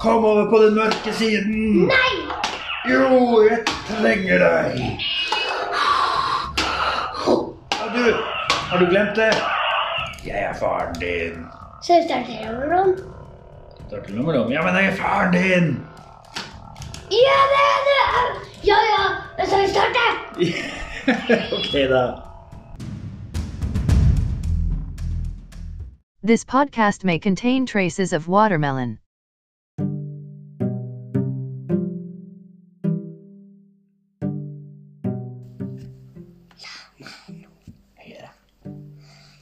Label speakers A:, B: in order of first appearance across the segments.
A: Kom over på den mørke siden!
B: Nei!
A: Jo, jeg trenger deg! Og du, har du glemt det? Jeg er faren din.
B: Så vi starter over om.
A: Tartelnummerom. Ja, men jeg er faren din!
B: Ja, det er det! er- Ja, ja, men så vi starter!
A: ok, da.
C: This podcast may contain traces of watermelon.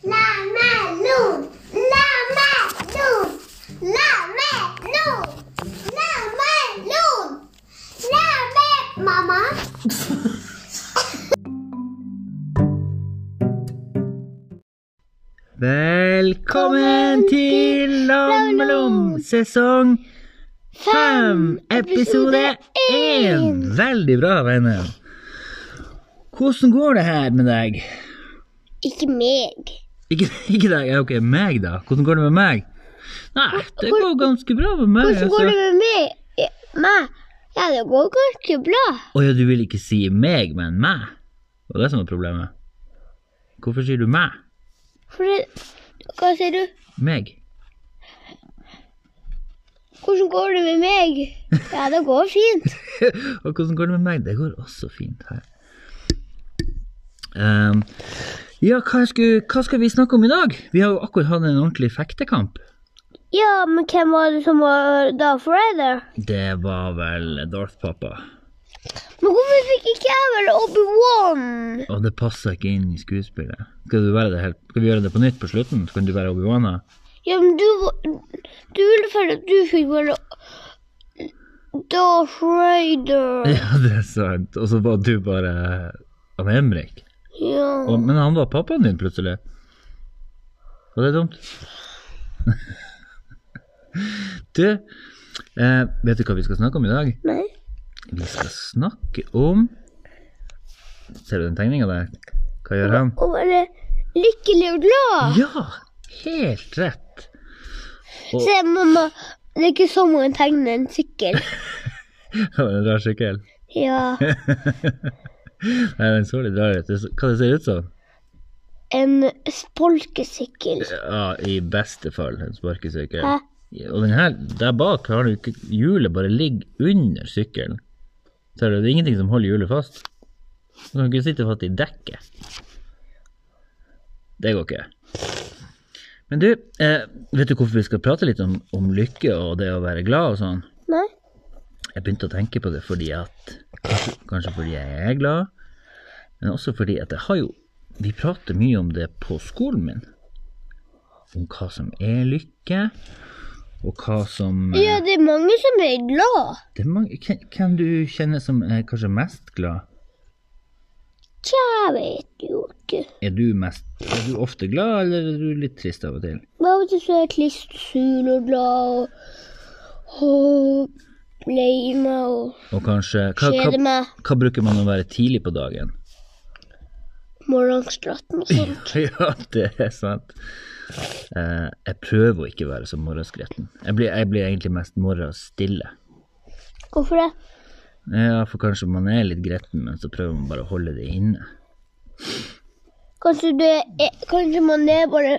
B: Lamelon! Lamelon! Lamelon! Lamelon! Lamelon! Mamma?
A: Velkommen til Lammelom sesong fem, episode én. Veldig bra, Reine. Hvordan går det her med deg?
B: Ikke meg.
A: Ikke, ikke deg, ja, ok, meg da. Hvordan går det med meg? Nei, det går ganske bra med meg.
B: Hvordan går det
A: altså.
B: med meg? meg? Ja, det går ganske bra.
A: Å ja, du vil ikke si meg, men meg. Det var det som var problemet. Hvorfor sier du meg?
B: For det, hva sier du?
A: Meg.
B: Hvordan går det med meg? Ja, det går fint.
A: Og hvordan går det med meg? Det går også fint her. Ehm, ja, hva skal, hva skal vi snakke om i dag? Vi har jo akkurat hatt en ordentlig fektekamp.
B: Ja, men hvem var det som var øh, da foreldre?
A: Det var vel Darth-pappa.
B: Men hvorfor fikk ikke jeg vel Obi-Wan?
A: Og det passer ikke inn i skuespillet. Skal, du være det helt, skal vi gjøre det på nytt på slutten? Så kan du være Obi-Wana?
B: Ja, men du, var- du ville føle at du fikk vel Darth Vader.
A: Ja, det er sant. Og så var du bare han Emrik.
B: Ja.
A: Og, men han var pappaen din plutselig. Var det dumt? du, eh, vet du hva vi skal snakke om i dag?
B: Nei.
A: Vi skal snakke om Ser du den tegninga der? Hva gjør han?
B: Å være lykkelig og glad.
A: Ja! Helt rett. og-
B: Se, mamma. Det er ikke sånn man tegner en sykkel.
A: Det var en rar sykkel.
B: Ja.
A: Nei, den så litt rar ut. Det så- Hva det ser ut som?
B: En spolkesykkel.
A: Ja, i beste fall en sparkesykkel.
B: Hæ?
A: Og den her, der bak har du ikke Hjulet bare ligger under sykkelen. Ser du, det er ingenting som holder hjulet fast. Du kan ikke sitte fast i dekket. Det går ikke. Men du, eh, vet du hvorfor vi skal prate litt om, om lykke og det å være glad og sånn?
B: Nei?
A: Jeg begynte å tenke på det fordi at Kanskje fordi jeg er glad, men også fordi at jeg har jo Vi prater mye om det på skolen min. Om hva som er lykke, og hva som eh,
B: Ja, det er mange som er glad.
A: det er mange, hvem- Hvem du kjenner som er kanskje mest glad?
B: Tja, jeg vet jo ikke.
A: Er du mest Er du ofte glad, eller er du litt trist av og til?
B: Men av og til så er jeg trist og sur og glad og, og lei meg og
A: Og kanskje hva,
B: kjeder
A: hva,
B: meg.
A: hva bruker man å være tidlig på dagen?
B: Morgenskratten og sånn.
A: Ja, det er sant. Eh, jeg prøver å ikke være så morgenskretten. Jeg blir, jeg blir egentlig mest morgenstille.
B: Hvorfor det?
A: Ja, for kanskje man er litt gretten, men så prøver man bare å holde det inne.
B: Kanskje, det er, kanskje man er bare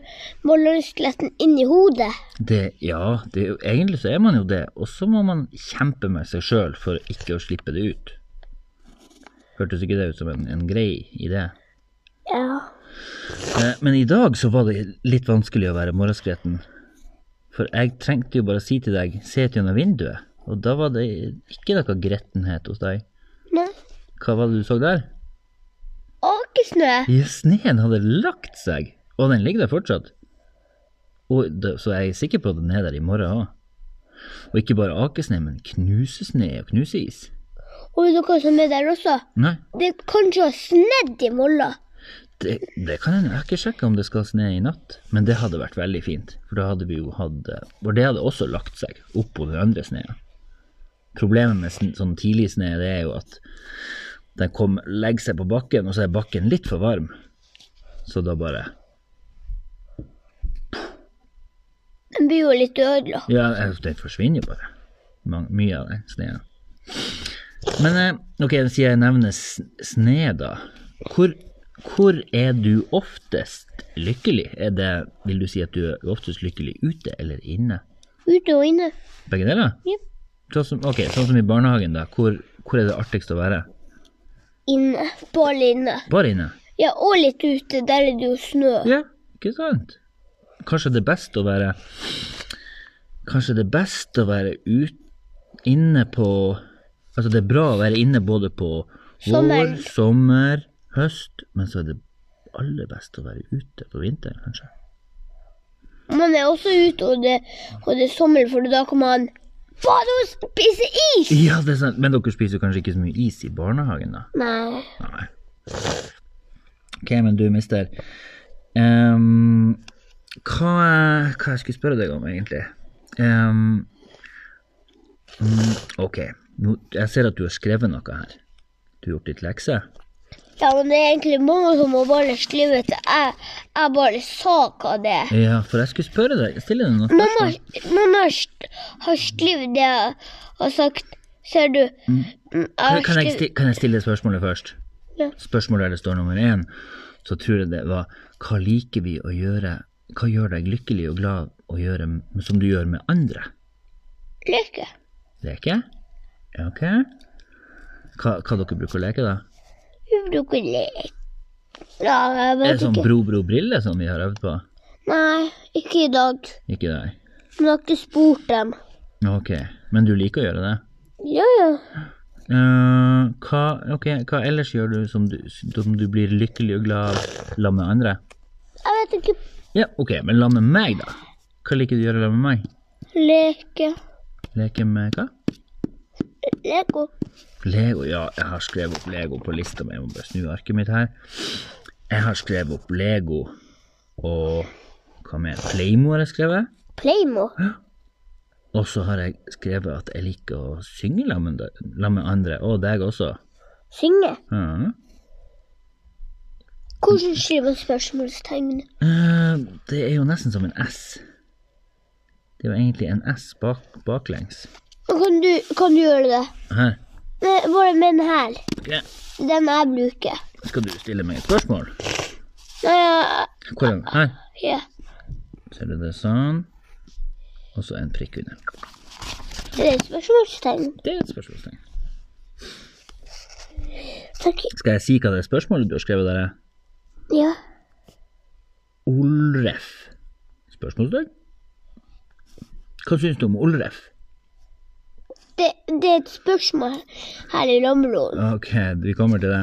B: morgenskletten inni hodet?
A: Det, ja, det, er jo- egentlig så er man jo det, og så må man kjempe med seg sjøl for ikke å slippe det ut. Hørtes ikke det ut som en, en grei idé?
B: Ja.
A: Eh, Men i dag så var det litt vanskelig å være morgenskretten. For jeg trengte jo bare å si til deg 'se ut gjennom vinduet', og da var det ikke noe grettenhet hos deg.
B: Nei.
A: Hva var det du så der?
B: Åkesnø.
A: Ja, sneen hadde lagt seg, og den ligger der fortsatt. Og det, så jeg er sikker på at den er der i morgen òg. Og ikke bare akesne, men knusesne og knuseis.
B: Og vet du hva som er der også?
A: Nei,
B: Det kanskje har snedd i morgen.
A: det, det kan hende. Jeg har ikke sjekka om det skal sne i natt, men det hadde vært veldig fint. For da hadde vi jo hatt eh, For det hadde også lagt seg oppå den andre sneen. Problemet med sn- sånn tidlig sne, det er jo at den kom, legger seg på bakken, og så er bakken litt for varm. Så da bare
B: Den blir jo litt ødelagt.
A: Ja, den eh, forsvinner jo bare. mang- mye av den sneen. Men eh, ok, siden jeg nevner s- sne, da. Hvor, hvor er du oftest lykkelig? Er det, vil du si at du er oftest lykkelig ute eller inne?
B: Ute og inne.
A: Begge deler?
B: Jep.
A: Sånn som, ok, sånn som i barnehagen, da. Hvor, hvor er det artigst å være?
B: Inne. Bare inne.
A: Bare inne?
B: Ja, og litt ute. Der er det jo snø.
A: Ja, ikke sant? Kanskje det er best å være Kanskje det er best å være ut, inne på Altså, det er bra å være inne både på vår,
B: Sommer.
A: sommer, høst, men så er det aller best å være ute på vinteren, kanskje.
B: Man er også ute, og det, og det er sommer, for da kan man bade og spise is!
A: Ja, det er sant. Men dere spiser jo kanskje ikke så mye is i barnehagen, da?
B: Nei.
A: Nei. Ok, men du, mister. ehm, hva, hva jeg skulle spørre deg om, egentlig? Ehm, mm, ok, Nå, jeg ser at du har skrevet noe her. Du har gjort ditt lekse?
B: Ja, men det er egentlig mange som har bare skrevet det. Jeg, jeg bare sa hva det er.
A: Ja, for jeg skulle spørre deg Stille deg noen
B: Mamma,
A: spørsmål.
B: mamma har st- har skrevet det jeg har sagt. Ser du? Jeg har
A: Mm. Kan, kan, jeg,
B: skrevet-
A: sti- kan jeg stille spørsmålet først?
B: Ja.
A: Spørsmålet der det står nummer én, så tror jeg det var Hva liker vi å gjøre? Hva gjør deg lykkelig og glad å gjøre m- som du gjør med andre?
B: Lykke.
A: Leke? Ja, Ok. Hva, hva dere bruker å leke, da?
B: Vi bruker lek. Ja, jeg
A: Er
B: vet
A: det sånn
B: ikke.
A: bro-bro-brille som vi har øvd på?
B: Nei, ikke i dag.
A: Ikke deg?
B: Men jeg har ikke spurt dem.
A: Ok, men du liker å gjøre det?
B: Ja, ja.
A: Eh, hva, ok, hva ellers gjør du som, du som du blir lykkelig og glad av sammen med andre?
B: Jeg vet ikke.
A: Ja, ok, men sammen med meg, da? Hva liker du å gjøre sammen med meg?
B: Leke.
A: Leke med hva?
B: Lego.
A: Lego, ja, jeg har skrevet opp Lego på lista mi. Jeg må bare snu arket mitt her. Jeg har skrevet opp Lego og hva mer? Playmo har jeg skrevet.
B: Playmo.
A: Og så har jeg skrevet at jeg liker å synge sammen med sammen med andre, og deg også.
B: Synge.
A: Ja.
B: Hvordan skriver man spørsmålstegn?
A: Eh, Det er jo nesten som en S. Det er jo egentlig en S bak, baklengs.
B: Kan du, kan du gjøre det?
A: Her.
B: Nei, Bare med den her.
A: Ok,
B: Den jeg bruker.
A: Skal du stille meg et spørsmål?
B: Nei, ja,
A: Hvordan? Her.
B: ja.
A: Ser du det sånn? Og så en prikk under.
B: Det er spørsmålstegn.
A: Det er et spørsmålstegn.
B: Takk.
A: Skal jeg si hva det er spørsmålet du har skrevet der? er?
B: Ja.
A: Olref. Spørsmålstegn? Hva syns du om Olref?
B: Det, det er et spørsmål her i Lammeloen.
A: Ok, vi kommer til det.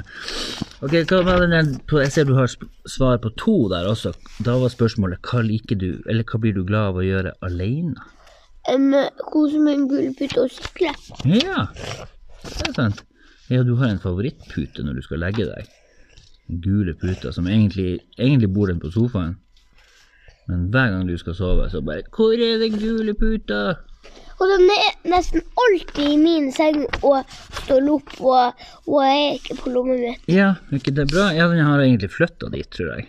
A: Ok, hva var den der på, Jeg ser du har sp- svar på to der også. Da var spørsmålet hva liker du, eller hva blir du glad av å gjøre alene?
B: Um, Kose med en gullpute og sykle.
A: Ja, det er sant. Ja, du har en favorittpute når du skal legge deg. Gule puter som egentlig, egentlig bor den på sofaen. Men hver gang du skal sove, så bare 'Hvor er den gule puta?'
B: Og den er nesten alltid i min seng og står opp, og, og jeg er ikke på lommen min.
A: Ja, er ikke det bra? Ja, den har egentlig flytta dit, tror jeg.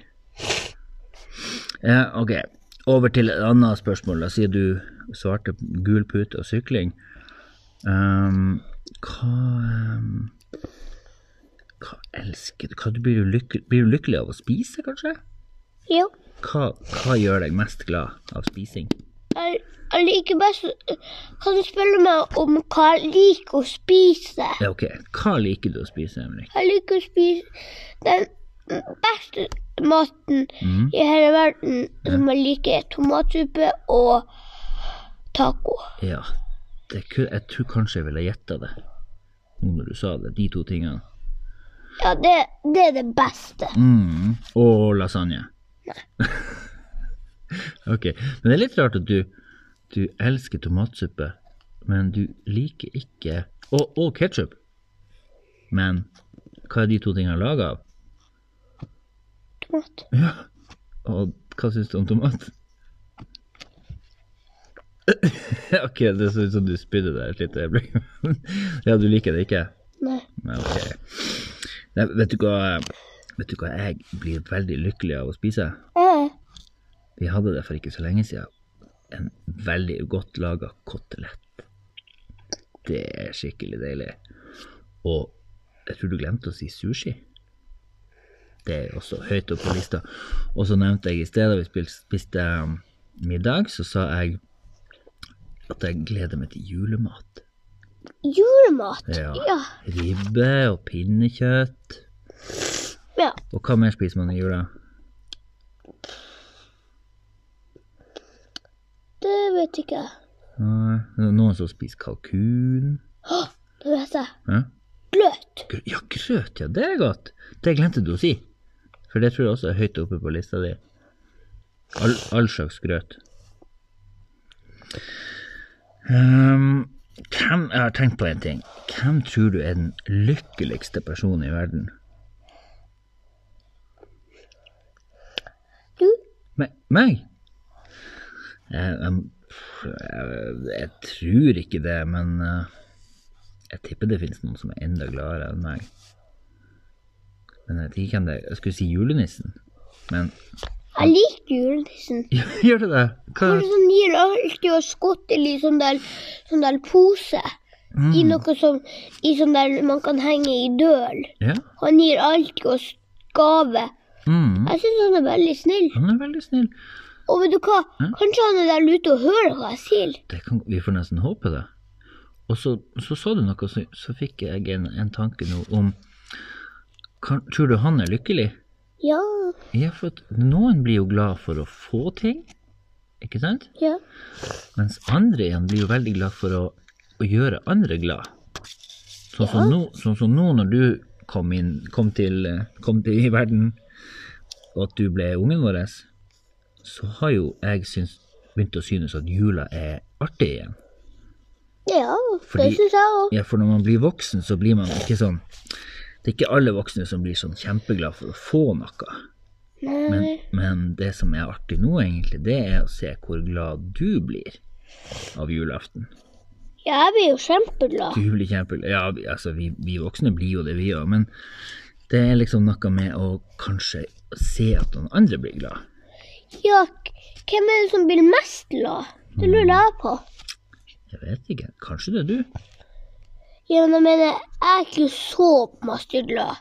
A: Ja, ok, over til et annet spørsmål. Da sier du svarte gul pute og sykling. Ehm, hva ehm, Hva elsker du? Hva du blir, du lykke, blir du lykkelig av å spise, kanskje?
B: Ja.
A: Hva, hva gjør deg mest glad av spising?
B: Jeg, jeg liker best Kan du spørre meg om hva jeg liker å spise?
A: Ja, ok, hva liker du å spise, Emrik?
B: Jeg liker å spise den beste maten i hele verden, som jeg liker, er tomatsuppe og taco.
A: Ja, det, ku- jeg tror kanskje jeg ville gjetta det, nå når du sa det, de to tingene.
B: Ja, det, det er det beste.
A: Mm. Og lasagne. ok. Men det er litt rart at du, du elsker tomatsuppe, men du liker ikke Og, og ketsjup. Men hva er de to tingene laga av?
B: Tomat.
A: Og hva syns du om tomat? ok, det så ut som du spydde der et lite øyeblikk. ja, du liker det ikke?
B: Nei.
A: Nei, ok. Nei, vet du hva Vet du hva jeg blir veldig lykkelig av å spise?
B: Eh,
A: Vi hadde det for ikke så lenge siden. En veldig godt laga kotelett. Det er skikkelig deilig. Og jeg tror du glemte å si sushi. Det er også høyt oppe på lista. Og så nevnte jeg i sted da vi spil- spiste um, middag, så sa jeg at jeg gleder meg til julemat.
B: Julemat.
A: Ja.
B: Ja.
A: Ribbe og pinnekjøtt.
B: ja.
A: Og hva mer spiser man i jula?
B: Det vet ikke jeg.
A: Nei, Noen som spiser kalkun.
B: Det vet jeg.
A: Ja.
B: Gløt.
A: Gr- Ja, grøt, ja, det er godt. Det glemte du å si. For det tror jeg også er høyt oppe på lista di. All, all slags grøt. Ehm, hvem, jeg har tenkt på en ting. Hvem tror du er den lykkeligste personen i verden?
B: Du?
A: Me meg? Jeg, jeg, jeg, jeg tror ikke det, men eh, jeg tipper det finnes noen som er enda gladere enn meg. Men jeg vet ikke hvem det er. Jeg skulle si julenissen, men
B: Jeg liker julenissen.
A: Gjør du det? Hva?
B: For sånn gir alltid oss godt i litt sånn der, sånn der pose.
A: Mm,
B: I noe som i sånn der man kan henge i døren.
A: Ja.
B: Han gir alltid oss gave.
A: Mm.
B: Jeg syns han er veldig snill.
A: Han er veldig snill.
B: Og vet du hva?
A: Hm?
B: Kanskje han er der ute og hører hva jeg sier.
A: Det kan, vi får nesten håpe det. Og så så, så du noe, så, så fikk jeg en, en tanke nå om kan, Tror du han er lykkelig?
B: Ja.
A: Ja, for at noen blir jo glad for å få ting, ikke sant?
B: Ja.
A: Mens andre igjen blir jo veldig glad for å, å gjøre andre glad. Sånn som, nå, sånn som nå når du kom, inn, kom, til, eh, kom til i verden, og at du ble ungen vår, så har jo jeg syns, begynt å synes at jula er artig igjen.
B: Ja, det
A: Fordi-
B: syns jeg òg.
A: Ja, for når man blir voksen, så blir man ikke sånn Det er ikke alle voksne som blir sånn kjempeglad for å få noe. Men, men det som er artig nå, egentlig, det er å se hvor glad du blir av julaften.
B: Ja, jeg blir jo kjempeglad.
A: Du blir kjempeglad. Ja, vi, altså, vi, vi voksne blir jo det, vi òg, men det er liksom noe med å kanskje se at noen andre blir glad.
B: Ja, k- hvem er det som blir mest glad? Det lurer jeg på.
A: Jeg vet ikke. Kanskje det er du?
B: Ja, men jeg mener, jeg er ikke så masse glad.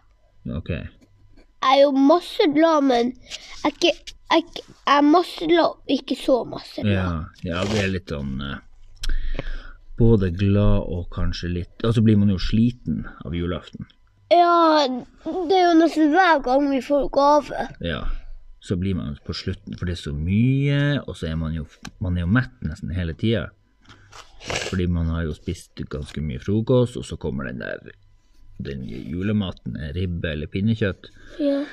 A: Ok.
B: Jeg er jo masse glad, men jeg er ikke jeg, er ikke- jeg er masse glad, ikke så masse glad.
A: Ja, ja det er litt sånn eh, Både glad og kanskje litt Og så blir man jo sliten av julaften.
B: Ja, det er jo nesten hver gang vi får gave.
A: Ja. Så blir man på slutten, for det er så mye, og så er man jo, man er jo mett nesten hele tida. Fordi man har jo spist ganske mye frokost, og så kommer den der den julematen, ribbe eller pinnekjøtt.
B: Ja.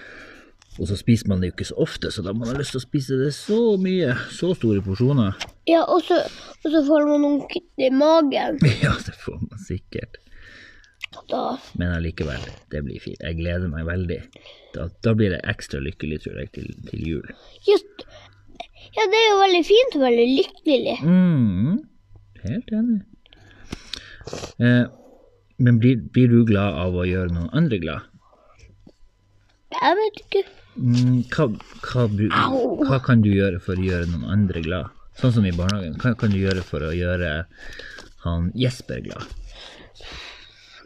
A: Og så spiser man det jo ikke så ofte, så da man har lyst til å spise det så mye. Så store porsjoner.
B: Ja, og så, og så får man noen kutt i magen.
A: Ja, det får man sikkert.
B: Da.
A: Men allikevel, det blir fint. Jeg gleder meg veldig. Da, da blir jeg ekstra lykkelig, tror jeg, til, til jul.
B: Just, ja, det er jo veldig fint og veldig lykkelig.
A: Mm, helt enig. Eh, men blir, blir du glad av å gjøre noen andre glad?
B: Jeg vet ikke.
A: Mm, hva, hva, bru-
B: Au.
A: hva kan du gjøre for å gjøre noen andre glad? Sånn som i barnehagen. Hva kan du gjøre for å gjøre han Jesper glad?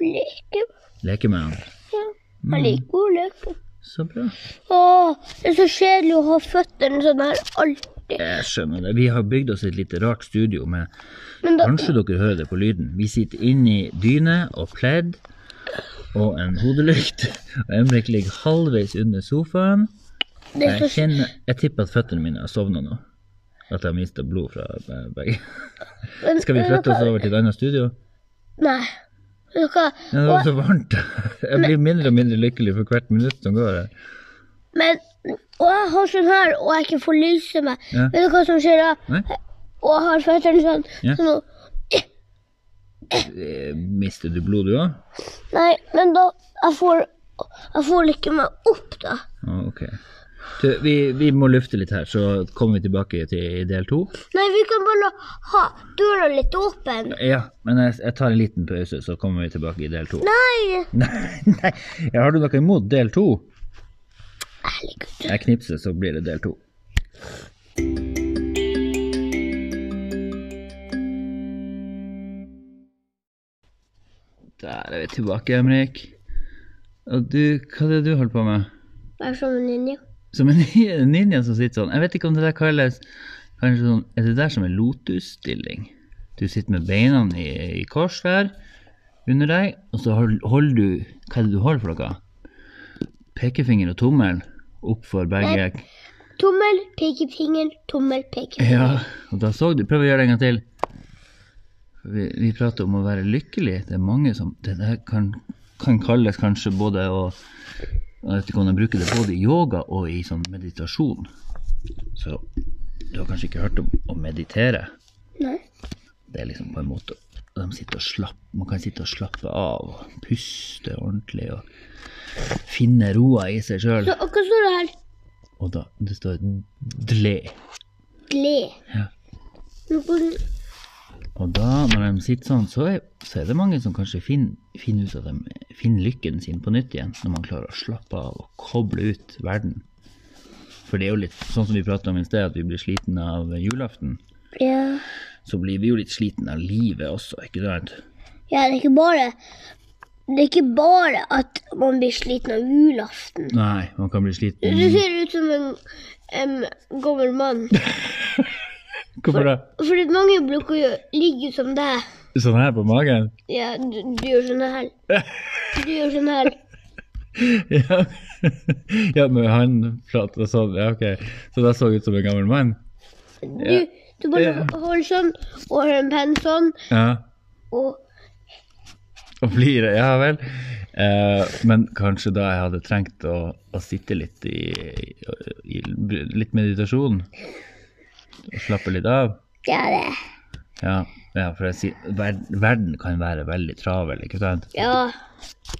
B: Leke.
A: Leke med han.
B: Ja.
A: Mm.
B: Jeg liker god leke.
A: Så bra.
B: Åh, det er så kjedelig å ha føttene sånn her alltid.
A: Jeg skjønner det. Vi har bygd oss et lite rart studio med
B: Men da,
A: Kanskje dere hører det på lyden. Vi sitter inni dyne og pledd og en hodelykt. Og Emrik ligger halvveis under sofaen.
B: det er
A: Jeg,
B: så,
A: kjenner, jeg tipper at føttene mine har sovna nå. At jeg har mista blod fra be- begge.
B: men,
A: Skal vi flytte oss over til et annet studio?
B: Nei. Vet du hva?
A: Ja, det var så varmt. Jeg blir mindre og mindre lykkelig for hvert minutt som går. her.
B: Men, og jeg har sånn her, og jeg ikke får lyse meg.
A: Ja.
B: Vet du hva som skjer da?
A: Nei?
B: Og jeg har føttene sånn.
A: Ja.
B: sånn og-
A: Eh, Mister du blod, du òg?
B: nei, men da, jeg får, jeg får ikke meg opp da.
A: Ok. Du, vi, vi må lufte litt her, så kommer vi tilbake til del to.
B: Nei, vi kan bare ha døra litt åpen.
A: Ja, men jeg, jeg tar en liten pause, så kommer vi tilbake i del to.
B: Nei,
A: Nei, nei. Ja, har du noe imot del to?
B: herregud.
A: Jeg knipser, så blir det del to. Der er vi tilbake, Emrik. Og du, hva er det du holder på med?
B: Jeg er som en ninja.
A: Som en ninja som sitter sånn. Jeg vet ikke om det der kalles kanskje sånn, Er det der som en lotusstilling? Du sitter med beina i, i kors der under deg, og så hold- holder du Hva er det du holder for noe? Pekefinger og tommel opp for begge
B: Tommel, pekefinger, tommel, pekefinger.
A: Ja, og da så du Prøv å gjøre det en gang til. Vi, vi prater om å være lykkelig. Det er mange som Det der kan, kan kalles kanskje både å Jeg vet ikke om de bruker det både i yoga og i sånn meditasjon. Så du har kanskje ikke hørt om å meditere?
B: Nei.
A: Det er liksom på en måte de sitter og slapp, Man kan sitte og slappe av og puste ordentlig og finne roa i seg sjøl.
B: Så akkurat står det her
A: Og da det står dle.
B: gled.
A: Ja.
B: Men hvordan
A: Og da, når de sitter sånn, så er, så er det mange som kanskje finner, finner ut at de finner lykken sin på nytt igjen, når man klarer å slappe av og koble ut verden. For det er jo litt sånn som vi pratet om i sted, at vi blir sliten av julaften.
B: ja.
A: Så blir vi jo litt sliten av livet også, ikke sant?
B: ja, det er ikke bare Det er ikke bare at man blir sliten av julaften.
A: Nei, man kan bli
B: Du
A: sliten
B: ser ut som en, en gammel mann.
A: Hvorfor da?
B: Fordi mange bruker jo ligge som deg.
A: Sånn her på magen?
B: Ja, du, du gjør sånn her. Du gjør sånn her.
A: Ja, ja men han prater sånn, ja ok. Så da så ut som en gammel mann?
B: Du, du bare
A: Ja.
B: holder sånn, og har en penn sånn,
A: Ja.
B: og
A: Og blir det, ja vel. Eh, men kanskje da jeg hadde trengt å, å sitte litt i, i, i litt meditasjon. Og slappe litt av.
B: Ja, det.
A: Ja, ja for jeg sier, ver, verden kan være veldig travel, ikke sant?
B: Ja.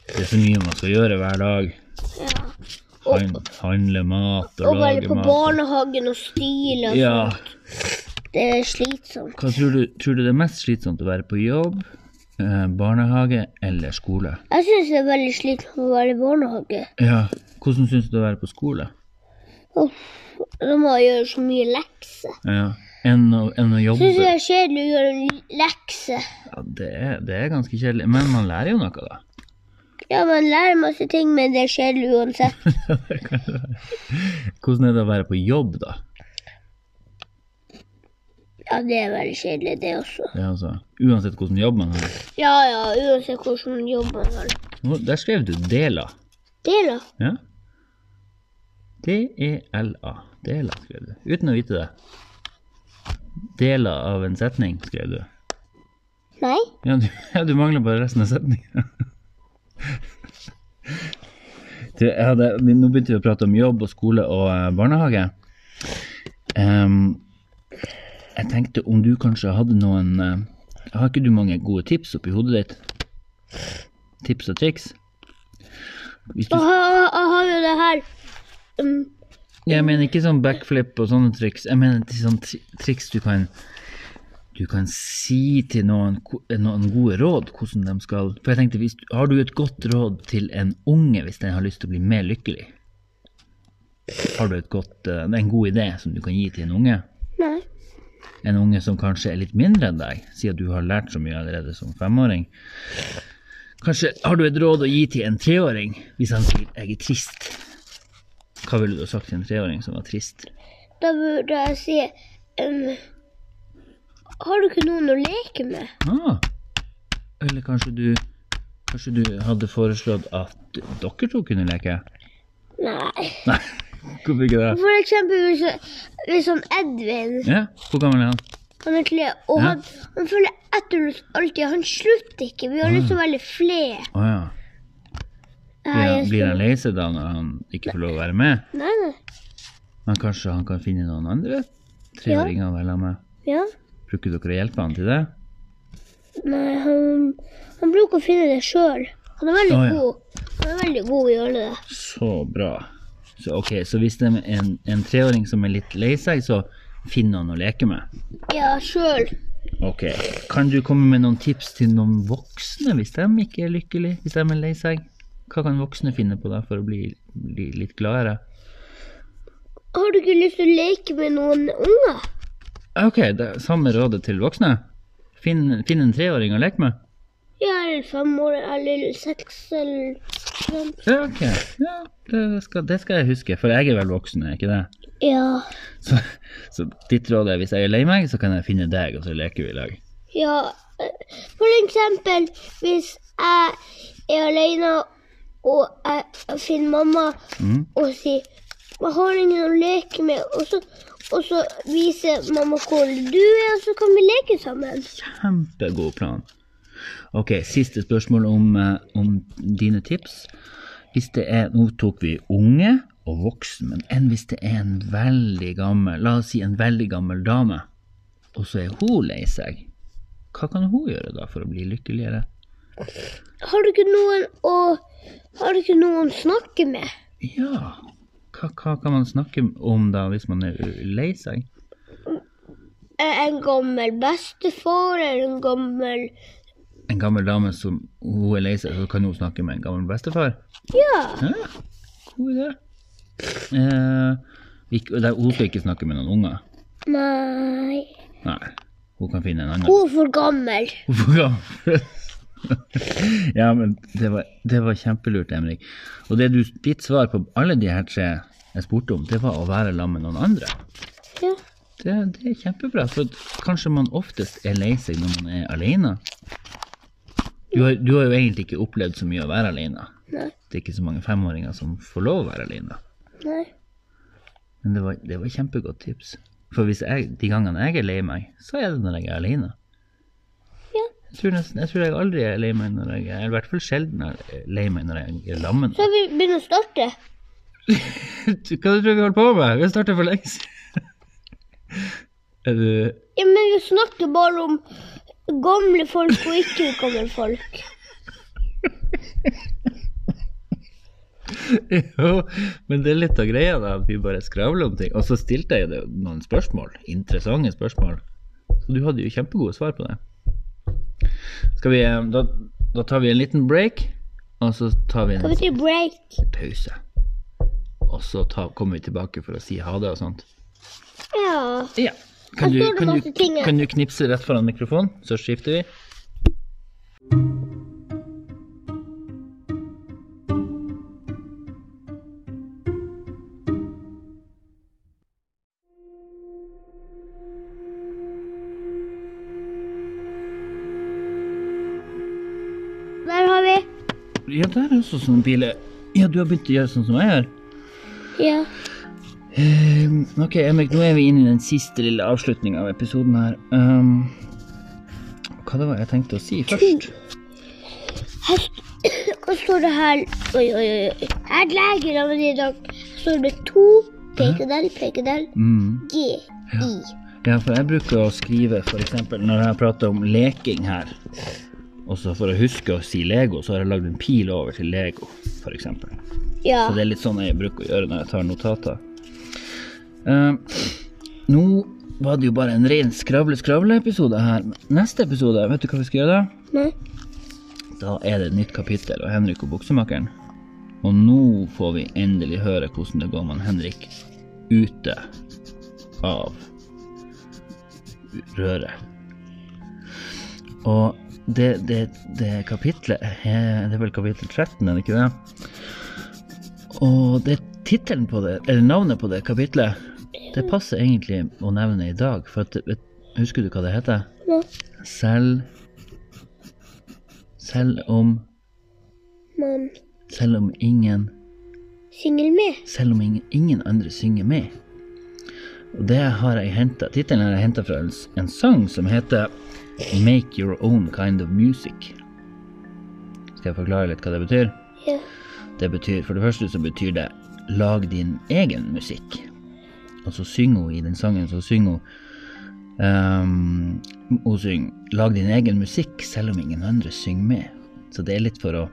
A: Det er så mye man skal gjøre hver dag.
B: ja.
A: Han, handle mat og,
B: Og være
A: lage
B: på
A: mat.
B: barnehagen og style. og
A: Ja.
B: sånt. Det er slitsomt.
A: Hva tror du, tror du det er mest slitsomt? Å være på jobb, eh, barnehage eller skole?
B: Jeg syns det er veldig slitsomt å være i barnehage.
A: Ja. Hvordan syns du det er å være på skole?
B: Uff, da må jeg gjøre så mye lekser.
A: Ja. Enn å, enn å jobbe?
B: Syns det er kjedelig å gjøre en lekse.
A: Ja, det er, det er ganske kjedelig. Men man lærer jo noe, da.
B: Ja, man lærer masse ting, men det er kjedelig uansett.
A: Hvordan er det å være på jobb, da?
B: Ja, det er veldig kjedelig, det også.
A: Det er altså, uansett hvordan jobb man har.
B: Ja ja, uansett hvordan jobb man har.
A: Nå, Der skrev du Dela.
B: Deler.
A: Ja. E D-e-l-a. Dela, skrev du. Uten å vite det. Dela av en setning, skrev du.
B: Nei.
A: Ja, du, ja, du mangler bare resten av setninga. Du, jeg hadde, vi- nå begynte vi å prate om jobb og skole og eh, barnehage. Ehm, jeg tenkte om du kanskje hadde noen eh, Har ikke du mange gode tips oppi hodet ditt? Tips og triks? Hvis du,
B: Jeg har- jeg har jo det her. Um,
A: jeg mener ikke sånn backflip og sånne triks. Jeg mener til sånne tri- triks du kan du kan si til noen, ko- noen gode råd hvordan de skal For jeg tenkte, hvis, du- har du et godt råd til en unge hvis den har lyst til å bli mer lykkelig? Har du et godt, eh, en god idé som du kan gi til en unge?
B: nei.
A: En unge som kanskje er litt mindre enn deg, siden du har lært så mye allerede som femåring. Kanskje har du et råd å gi til en treåring hvis han sier 'jeg er trist'? Hva ville du ha sagt til en treåring som var trist?
B: Da burde jeg si um, Har du ikke noen å leke med?
A: Ah. Eller kanskje du Kanskje du hadde foreslått at dere to kunne leke?
B: Nei.
A: Nei, hvorfor ikke det?
B: For eksempel hvis, hvis han Edvin
A: Ja, Hvor gammel er han?
B: han er tre, og
A: Ja.
B: han, han følger etter oss alltid. Han slutter ikke. Vi har lyst til å være flere.
A: Å ja. Mm. Blir han, blir han lei seg da når han ikke får lov å være med?
B: Nei, nei.
A: Men kanskje han kan finne noen andre treåringer å være sammen med?
B: Ja.
A: Bruker dere å hjelpe han til det?
B: Nei, han, han bruker å finne det sjøl. Han er veldig
A: Å, ja.
B: god. Han er veldig god i å gjøre det.
A: Så bra. Så ok, så hvis det er en, en treåring som er litt lei seg, så finn noen å leke med?
B: Ja, sjøl.
A: Ok. Kan du komme med noen tips til noen voksne hvis de ikke er lykkelige, hvis de er lei seg? Hva kan voksne finne på da for å bli, bli litt gladere?
B: Har du ikke lyst til å leke med noen unger?
A: Ok, det er samme rådet til voksne. Finn, finn en treåring å leke med.
B: Jeg er fem år, eller seks, eller sånn.
A: Ja, ok. Ja, det, skal, det skal jeg huske, for jeg er vel voksen, er jeg ikke det?
B: Ja.
A: Så, så ditt råd er hvis jeg er lei meg, så kan jeg finne deg, og så leker vi i lag.
B: Ja, eh, for eksempel hvis jeg er alene og jeg finner mamma
A: Mhm.
B: og sier jeg har ingen å leke med, og så, og så viser mamma hvor du er, og så kan vi leke sammen.
A: Kjempegod plan. Ok, siste spørsmål om, eh, om dine tips. Hvis det er, nå tok vi unge og voksen, men enn hvis det er en veldig gammel, la oss si en veldig gammel dame, og så er hun lei seg, hva kan hun gjøre da for å bli lykkeligere?
B: Har du ikke noen å har du ikke noen å snakke med?
A: Ja, hva, hva kan man snakke om da hvis man er lei seg?
B: Eh, En gammel bestefar eller en gammel
A: En gammel dame som hun er lei seg, så kan hun snakke med en gammel bestefar?
B: Ja.
A: Ja, god idé. Eh, ikke, og det, hun skal ikke snakke med noen unger.
B: Nei
A: Nei, hun kan finne en annen.
B: Hun er for gammel.
A: Hvorfor gammel? ja, men det var, det var kjempelurt, Emrik. Og det du, ditt svar på alle de her tre jeg spurte om, det var å være sammen med noen andre.
B: Ja.
A: Det, det er kjempebra, for kanskje man oftest er lei seg når man er alene. Du har, du har jo egentlig ikke opplevd så mye å være alene.
B: Nei.
A: Det er ikke så mange femåringer som får lov å være alene.
B: Nei.
A: Men det var, det var kjempegodt tips. For hvis jeg, de gangene jeg er lei meg, så er det når jeg er alene.
B: Ja.
A: Jeg tror, nesten, jeg tror jeg aldri er lei meg når jeg er I hvert fall sjelden er jeg lei meg når jeg er lammen.
B: Så vi begynner å starte.
A: Hva du tror du vi holder på med? Vi starter for lengst. er du
B: Ja, men vi snakker bare om gamle folk og ikke gamle folk.
A: Jo, men det er litt av greia, da. At vi bare skravler om ting. Og så stilte jeg deg noen spørsmål. Interessante spørsmål. Så du hadde jo kjempegode svar på det. Skal vi eh, Da, da tar vi en liten break, og så tar vi
B: Hva
A: en
B: betyr break?
A: pause. Og så ta, kommer vi tilbake for å si ha det og sånt.
B: Ja.
A: Ja. Kan du,
B: Her står det
A: kan,
B: masse
A: du,
B: ting, ja.
A: kan du knipse rett foran mikrofonen, så skifter vi?
B: Der har vi.
A: Ja, der er også sånne biler. Ja, du har begynt å gjøre sånn som jeg gjør.
B: Ja.
A: Ehm, Ok, Emrik, nå er vi inne i den siste lille avslutninga av episoden her. Ehm, hva det var jeg tenkte å si først?
B: Hva står det her? Oi, oi, oi. Jeg er leger av i dag. Her står det to pekedel, pekedel,
A: Mm.
B: G, I.
A: Ja, for jeg bruker å skrive f.eks. når jeg prater om leking her, og så for å huske å si Lego, så har jeg lagd en pil over til Lego, f.eks.
B: Ja.
A: Så det er litt sånn jeg bruker å gjøre når jeg tar notater. Ehm, nå var det jo bare en ren skravle-skravle-episode her. Neste episode, vet du hva vi skal gjøre da?
B: Nei.
A: Da er det et nytt kapittel av Henrik og buksemakeren. Og nå får vi endelig høre hvordan det går med Henrik ute av røret. Og det, det, det kapitlet eh, Det er vel kapittel 13, er det ikke det? Og det tittelen på det, eller navnet på det kapitlet, det passer egentlig å nevne i dag. For at, vet- husker du hva det heter?
B: Nei.
A: Selv selv om
B: Man
A: Selv om ingen
B: synger med.
A: Selv om ingen, ingen andre synger med. Og det har jeg hentet, Tittelen har jeg henta fra en, s- en sang som heter Make Your Own Kind of Music. Skal jeg forklare litt hva det betyr?
B: Ja.
A: Det betyr, For det første så betyr det 'lag din egen musikk'. Og så synger hun i den sangen, så synger hun ehm, Hun synger 'lag din egen musikk selv om ingen andre synger med'. Så det er litt for å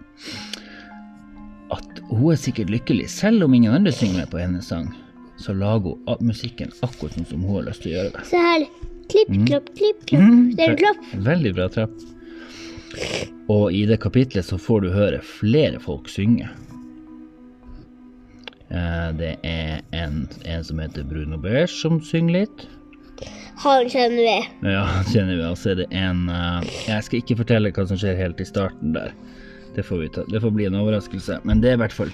A: At hun er sikkert lykkelig, selv om ingen andre synger med på hennes sang. Så lager hun a- musikken akkurat sånn som hun har lyst til å gjøre det.
B: Se her. Klipp, klapp, klipp, klapp.
A: Mm,
B: Det er en
A: tre-
B: klapp.
A: Veldig bra trapp. Og i det kapitlet så får du høre flere folk synge. Eh, Det er en, en som heter Bruno Beige som synger litt.
B: Han kjenner vi.
A: Ja, kjenner vi. Og så er det en eh, Jeg skal ikke fortelle hva som skjer helt i starten der. Det får, vi ta. det får bli en overraskelse. Men det er i hvert fall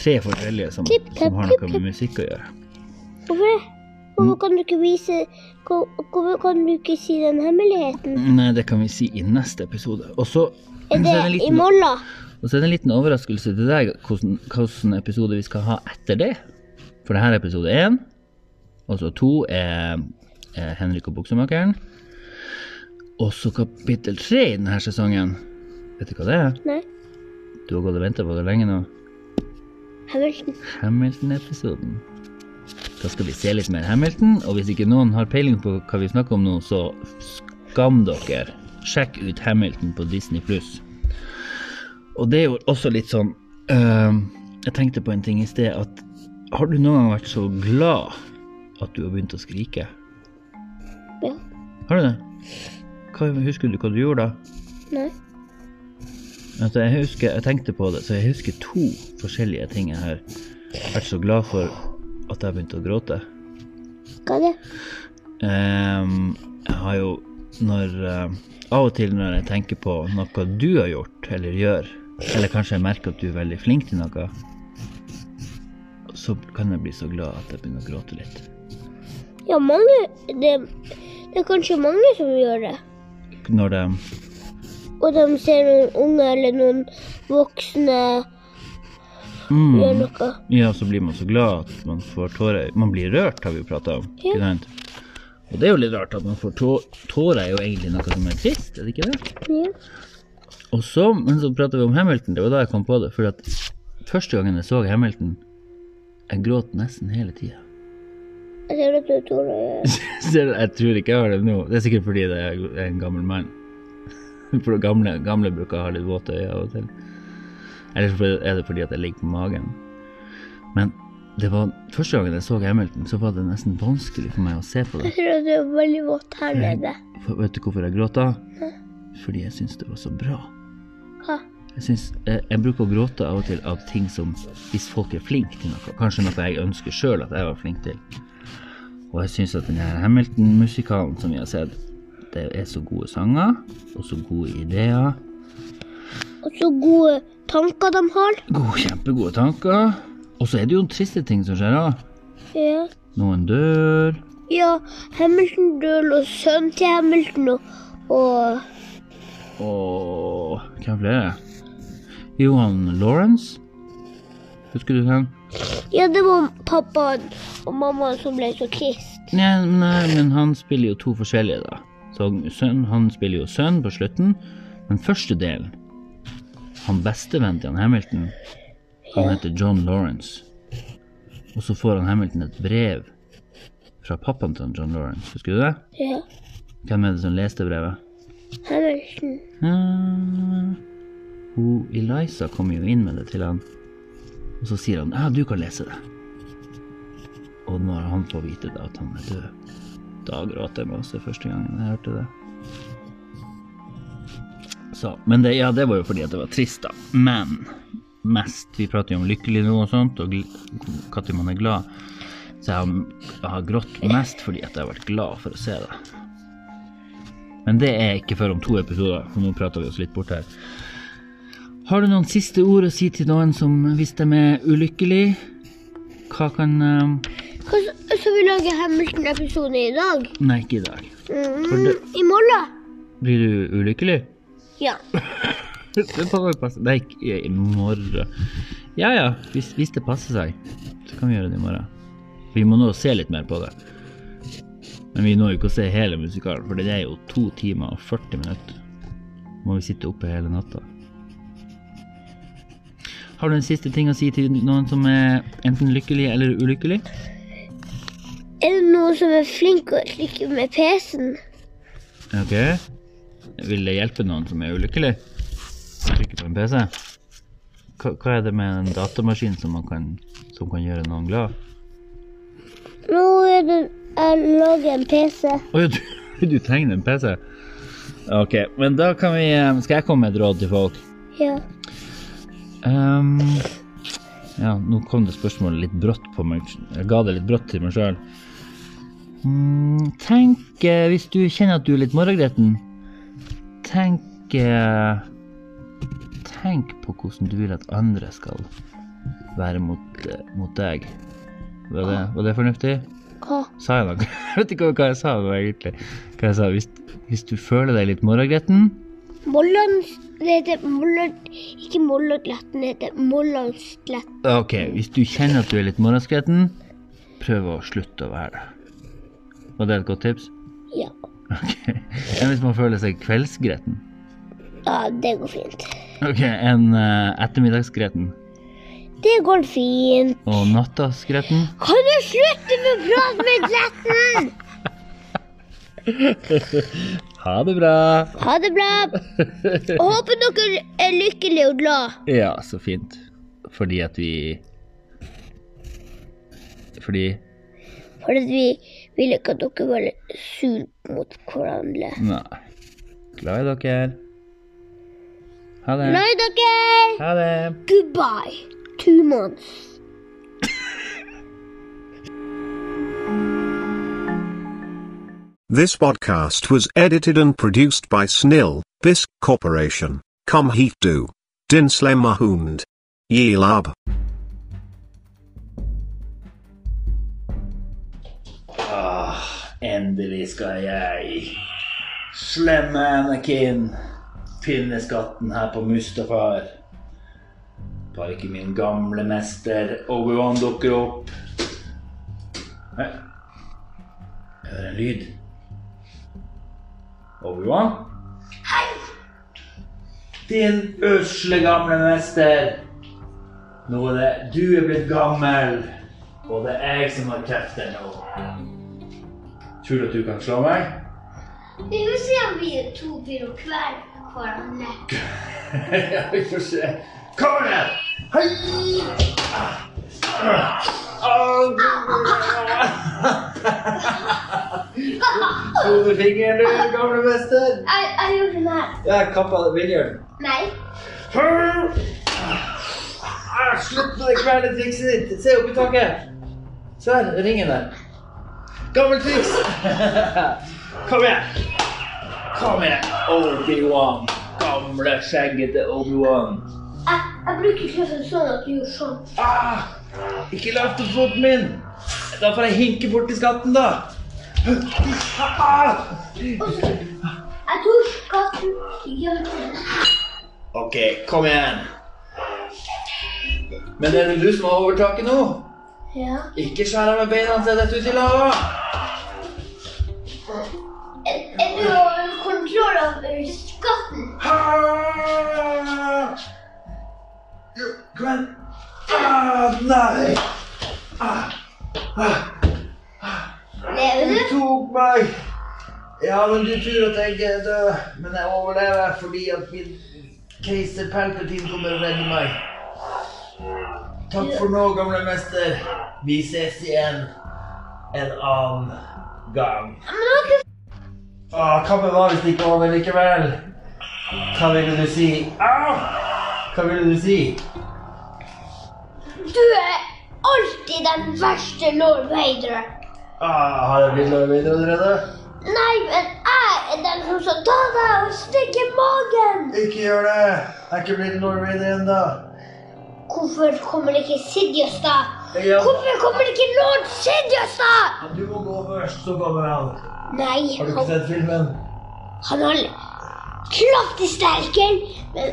A: tre forskjellige som,
B: Tipp, tapp,
A: som har
B: tipp,
A: noe med musikk å gjøre.
B: Hvorfor det?
A: Mm.
B: Hvorfor kan du ikke vise hvor- Hvorfor kan du ikke si den hemmeligheten?
A: Nei, Mm, eh, det kan vi si i neste episode. Og så
B: Er
A: så er det en
B: det i
A: liten,
B: morgen?
A: og så er det en liten overraskelse til deg hvordan, hvordan episode vi skal ha etter det. For det her er episode én. Og så to er, er Henrik og buksemakeren. Og så kapittel tre i denne sesongen. Vet du hva det er?
B: Nei.
A: Du har gått og venta på det lenge nå.
B: Hamilton.
A: Hamilton-episoden. Da skal vi se litt mer Hamilton, og hvis ikke noen har peiling på hva vi snakker om nå, så skam dere. Sjekk ut Hamilton på Disney Og det er jo også litt sånn øhm, Jeg tenkte på en ting i sted, at har du noen gang vært så glad at du har begynt å skrike?
B: Ja.
A: Har du det? Hva, husker du hva du gjorde da?
B: Nei.
A: Altså, jeg husker, jeg tenkte på det, så jeg husker to forskjellige ting jeg har vært så glad for at jeg begynte å gråte.
B: Hva er det?
A: Ehm, jeg har jo når eh, Av og til når jeg tenker på noe du har gjort eller gjør, eller kanskje jeg merker at du er veldig flink til noe, så kan jeg bli så glad at jeg begynner å gråte litt.
B: Ja, mange det, det er kanskje mange som gjør det.
A: Når det
B: Og de ser noen unge eller noen voksne gjøre
A: mm,
B: noe.
A: Ja, så blir man så glad at man får tårer. Man blir rørt, har vi jo prata om.
B: Ja.
A: Ikke sant? Og det er jo litt rart at man får tå- tårer, er jo egentlig noe som er trist, er det ikke det?
B: Ja.
A: Og så, men så prater vi om Hamilton, det var da jeg kom på det. For at første gangen jeg så Hamilton, jeg gråt nesten hele tida.
B: Jeg ser at du tror det.
A: jeg tror ikke jeg har det nå. Det er sikkert fordi jeg er en gammel mann. For gamle, gamle bruker å ha litt våte øyne av og til. Eller så er det fordi at jeg ligger på magen. Men det var første gangen jeg så Hamilton, så var det nesten vanskelig for meg å se på det.
B: Jeg ser at det er veldig vått her nede.
A: For, vet du hvorfor jeg gråt da? Fordi jeg syntes det var så bra.
B: Ha.
A: Jeg, syns, jeg, jeg bruker å gråte av og til av ting som Hvis folk er flinke til noe. Kanskje noe jeg ønsker sjøl at jeg var flink til. Og jeg syns at denne Hamilton-musikalen som vi har sett, det er så gode sanger og så gode ideer.
B: Og så gode tanker de har.
A: Gode, kjempegode tanker. Og så er det jo triste ting som skjer òg.
B: Ja.
A: Noen dør.
B: ja Hamilton Døhl og sønnen til Hamilton og, og
A: Og hvem flere? Johan Lawrence. Husker du den?
B: Ja, det var pappaen og mammaen som ble så krist.
A: Nei, nei, men han spiller jo to forskjellige, da. Så sønn, han spiller jo sønn på slutten, men første delen Han bestevennen til han Hamilton, han heter John Lawrence. Og så får han Hamilton et brev fra pappaen til han John Lawrence, husker du det?
B: Ja.
A: Hvem er det som leste brevet?
B: Hamilton.
A: Eh, hun Eliza kommer jo inn med det til han, og så sier han ja, du kan lese det. Og når han får vite da at han er død, da gråt jeg masse første gangen jeg hørte det. Så, men det, ja, det var jo fordi at det var trist, da. Men mest Vi prater jo om lykkelig nå og sånt, og når man er glad. Så jeg har, jeg har grått mest fordi at jeg har vært glad for å se det. Men det er ikke før om to episoder, for nå prater vi oss litt bort her. Har du noen siste ord å si til noen som hvis de er ulykkelig? Hva kan eh,
B: Hva s- Så vi lager Hamilton-episoden i dag.
A: Nei, ikke i dag.
B: Mm, I morgen?
A: Blir du ulykkelig?
B: Ja.
A: Det får vel passe. Nei, ikke i morgen. Ja ja, hvis, hvis det passer seg, så kan vi gjøre det i morgen. Vi må nå se litt mer på det. Men vi når jo ikke å se hele musikalen, for det er jo to timer og 40 minutter. Må vi sitte oppe hele natta. Har du en siste ting å si til noen som er enten lykkelig eller ulykkelig?
B: Er det noen som er flink til å klikke med PC-en?
A: Ok. Vil det hjelpe noen som er ulykkelig? Trykke på en PC? Hva, hva er det med en datamaskin som, man kan, som kan gjøre noen glad?
B: Nå er det jeg lager en PC.
A: Å ja, du, du tegner en PC? Ok, men da kan vi eh, Skal jeg komme med et råd til folk?
B: Ja.
A: Ehm, ja, nå kom det spørsmålet litt brått på meg. Jeg ga det litt brått til meg sjøl. Mm, tenk eh, Hvis du kjenner at du er litt morgengretten, tenk eh, Tenk på hvordan du vil at andre skal være mot, eh, mot deg. Var det, var det fornuftig?
B: Hva?
A: Sa jeg noe? Jeg vet ikke hva jeg sa det var egentlig. Hva jeg sa, hvis, hvis du føler deg litt morgengretten
B: Mollands... Det heter Molland... Ikke Mollandgletten, det heter Mollandsgletten.
A: Ok, hvis du kjenner at du er litt morgengretten, prøv å slutte å være det. Var det et godt tips?
B: Ja.
A: Ok. Enn hvis man føler seg kveldsgretten?
B: ja, det går fint.
A: Ok, enn eh, ettermiddagsgretten?
B: Det går fint.
A: Og nattasgretten?
B: Kan du slutte med å prate med Gletten?
A: Ha det bra!
B: Ha det bra. Og håper dere er lykkelige og glad.
A: Ja, så fint. Fordi at vi Fordi
B: For at vi vil ikke at dere var sure mot hverandre.
A: Nei. Glad i dere. Ha det.
B: Nei, dere!
A: Ha det.
B: Goodbye. Two months.
D: This podcast was edited and produced by Snil, Bisc Corporation. Kom hit du. Din slemme hund. Yilab.
A: Ah, Endelig skal jeg slemme Anakin finne skatten her på Mustafar. Bare ikke min gamle mester Obi-Wan dukker opp. Nei. Jeg hører en lyd. Obi-Wan? Din usle gamle mester. Nå er det du er blitt gammel, og det er jeg som har krefter nå. Tror du at du kan slå meg?
B: Vi får se om vi er to byråkrater hverandre.
A: ja, vi får se. Kom igjen! Hei! Ah. Au! Slo du fingeren, du, gamle mester?
B: Jeg, jeg gjorde den her.
A: Jeg kappa fingeren.
B: Nei.
A: Ah, Slutt med det kveldet trikset ditt. Se opp i taket. Se her, ringen der. Gammelt triks. Kom igjen. Kom igjen, Obi-Wan. Gamle, skjeggete Obi-Wan.
B: Jeg, jeg bruker kjøkken sånn at du gjør sånn.
A: Ah, ikke løft opp foten min. Da får jeg hinke bort til skatten, da. Ah,
B: Og så Jeg tok katten i hjørnet.
A: ok, kom igjen. Men det er du som har overtaket nå.
B: Ja.
A: Ikke skjær av med beina og sett deg ut i lava.
B: Er, er du har kontroll over skatten?
A: Ah! Kom igjen. Ah, nei!
B: Lever
A: Du
B: du?
A: tok meg! Ja, men du tror at jeg er død, men jeg overlever fordi at min keiser Palpatine kommer og redder meg. Takk for nå, gamle mester. Vi ses igjen en annen gang.
B: Men det var ikke
A: Ah, kampen var visst ikke over likevel. Hva ville du si? Au! Hva ville du si?
B: Du er alltid den verste lord Vader.
A: Ah, har jeg blitt løyve allerede?
B: Nei, men jeg er den som skal ta deg og stikke i magen.
A: Ikke gjør det! Jeg er ikke blitt Lord Vader ennå.
B: Hvorfor kommer ikke Sidious, da?
A: Ja.
B: Hvorfor kommer ikke lord Sidious, da?
A: Du må gå først, så kommer han.
B: Nei,
A: Har
B: han-
A: du ikke sett filmen?
B: Han har kraftig sterkere, men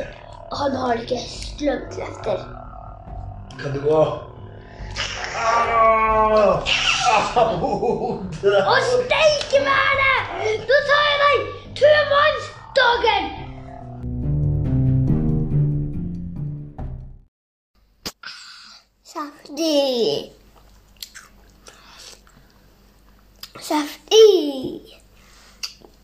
B: han har ikke strømkrefter.
A: Kan du gå? Au! Ah, Au! Det
B: Og steike meg det! Nå tar jeg deg tumannsdagen! Saftig. Saftig.